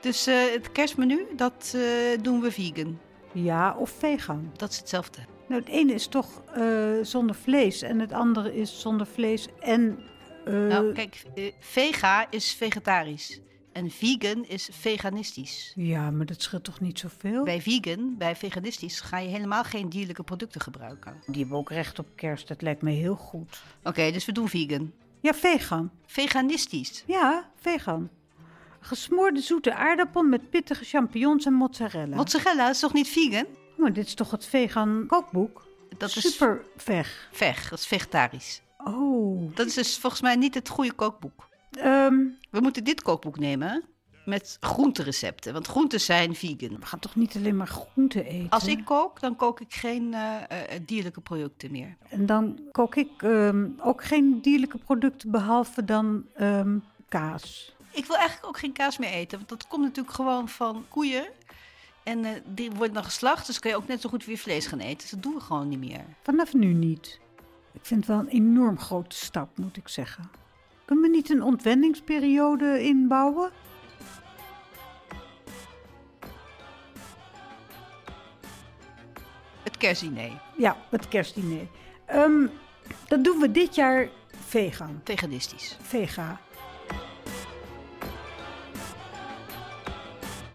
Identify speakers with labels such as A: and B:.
A: Dus eh, het kerstmenu, dat eh, doen we vegan.
B: Ja, of vegan.
A: Dat is hetzelfde.
B: Nou, het ene is toch eh, zonder vlees en het andere is zonder vlees en... eh,
A: nou, kijk, eh, vega is vegetarisch. En vegan is veganistisch.
B: ja, maar dat scheelt toch niet zoveel?
A: Bij vegan, bij veganistisch, ga je helemaal geen dierlijke producten gebruiken.
B: Die hebben ook recht op kerst, dat lijkt me heel goed.
A: Oké, dus we doen vegan.
B: Ja, vegan.
A: Veganistisch.
B: Ja, vegan. Gesmoorde zoete aardappel met pittige champignons en mozzarella.
A: Mozzarella is toch niet vegan?
B: Oh, maar dit is toch het vegan kookboek?
A: Dat
B: Super veg.
A: is veg, dat is vegetarisch.
B: Oh.
A: Dat is dus volgens mij niet het goede kookboek.
B: Ehm,
A: We moeten dit kookboek nemen hè, met groenterecepten, want groenten zijn vegan.
B: we gaan toch niet alleen maar groenten eten?
A: Als ik kook, dan kook ik geen eh, eh, dierlijke producten meer.
B: En dan kook ik ehm, ook geen dierlijke producten behalve dan ehm, kaas.
A: Ik wil eigenlijk ook geen kaas meer eten, want dat komt natuurlijk gewoon van koeien. En eh, die worden dan geslacht, dus kun je ook net zo goed weer vlees gaan eten. Dus dat doen we gewoon niet meer.
B: Vanaf nu niet. Ik vind het wel een enorm grote stap, moet ik zeggen. Kunnen we niet een ontwenningsperiode inbouwen?
A: Het kerstdiner,
B: Ja, het kerstdiner. Ehm, dat doen we dit jaar vegan.
A: veganistisch.
B: Vega.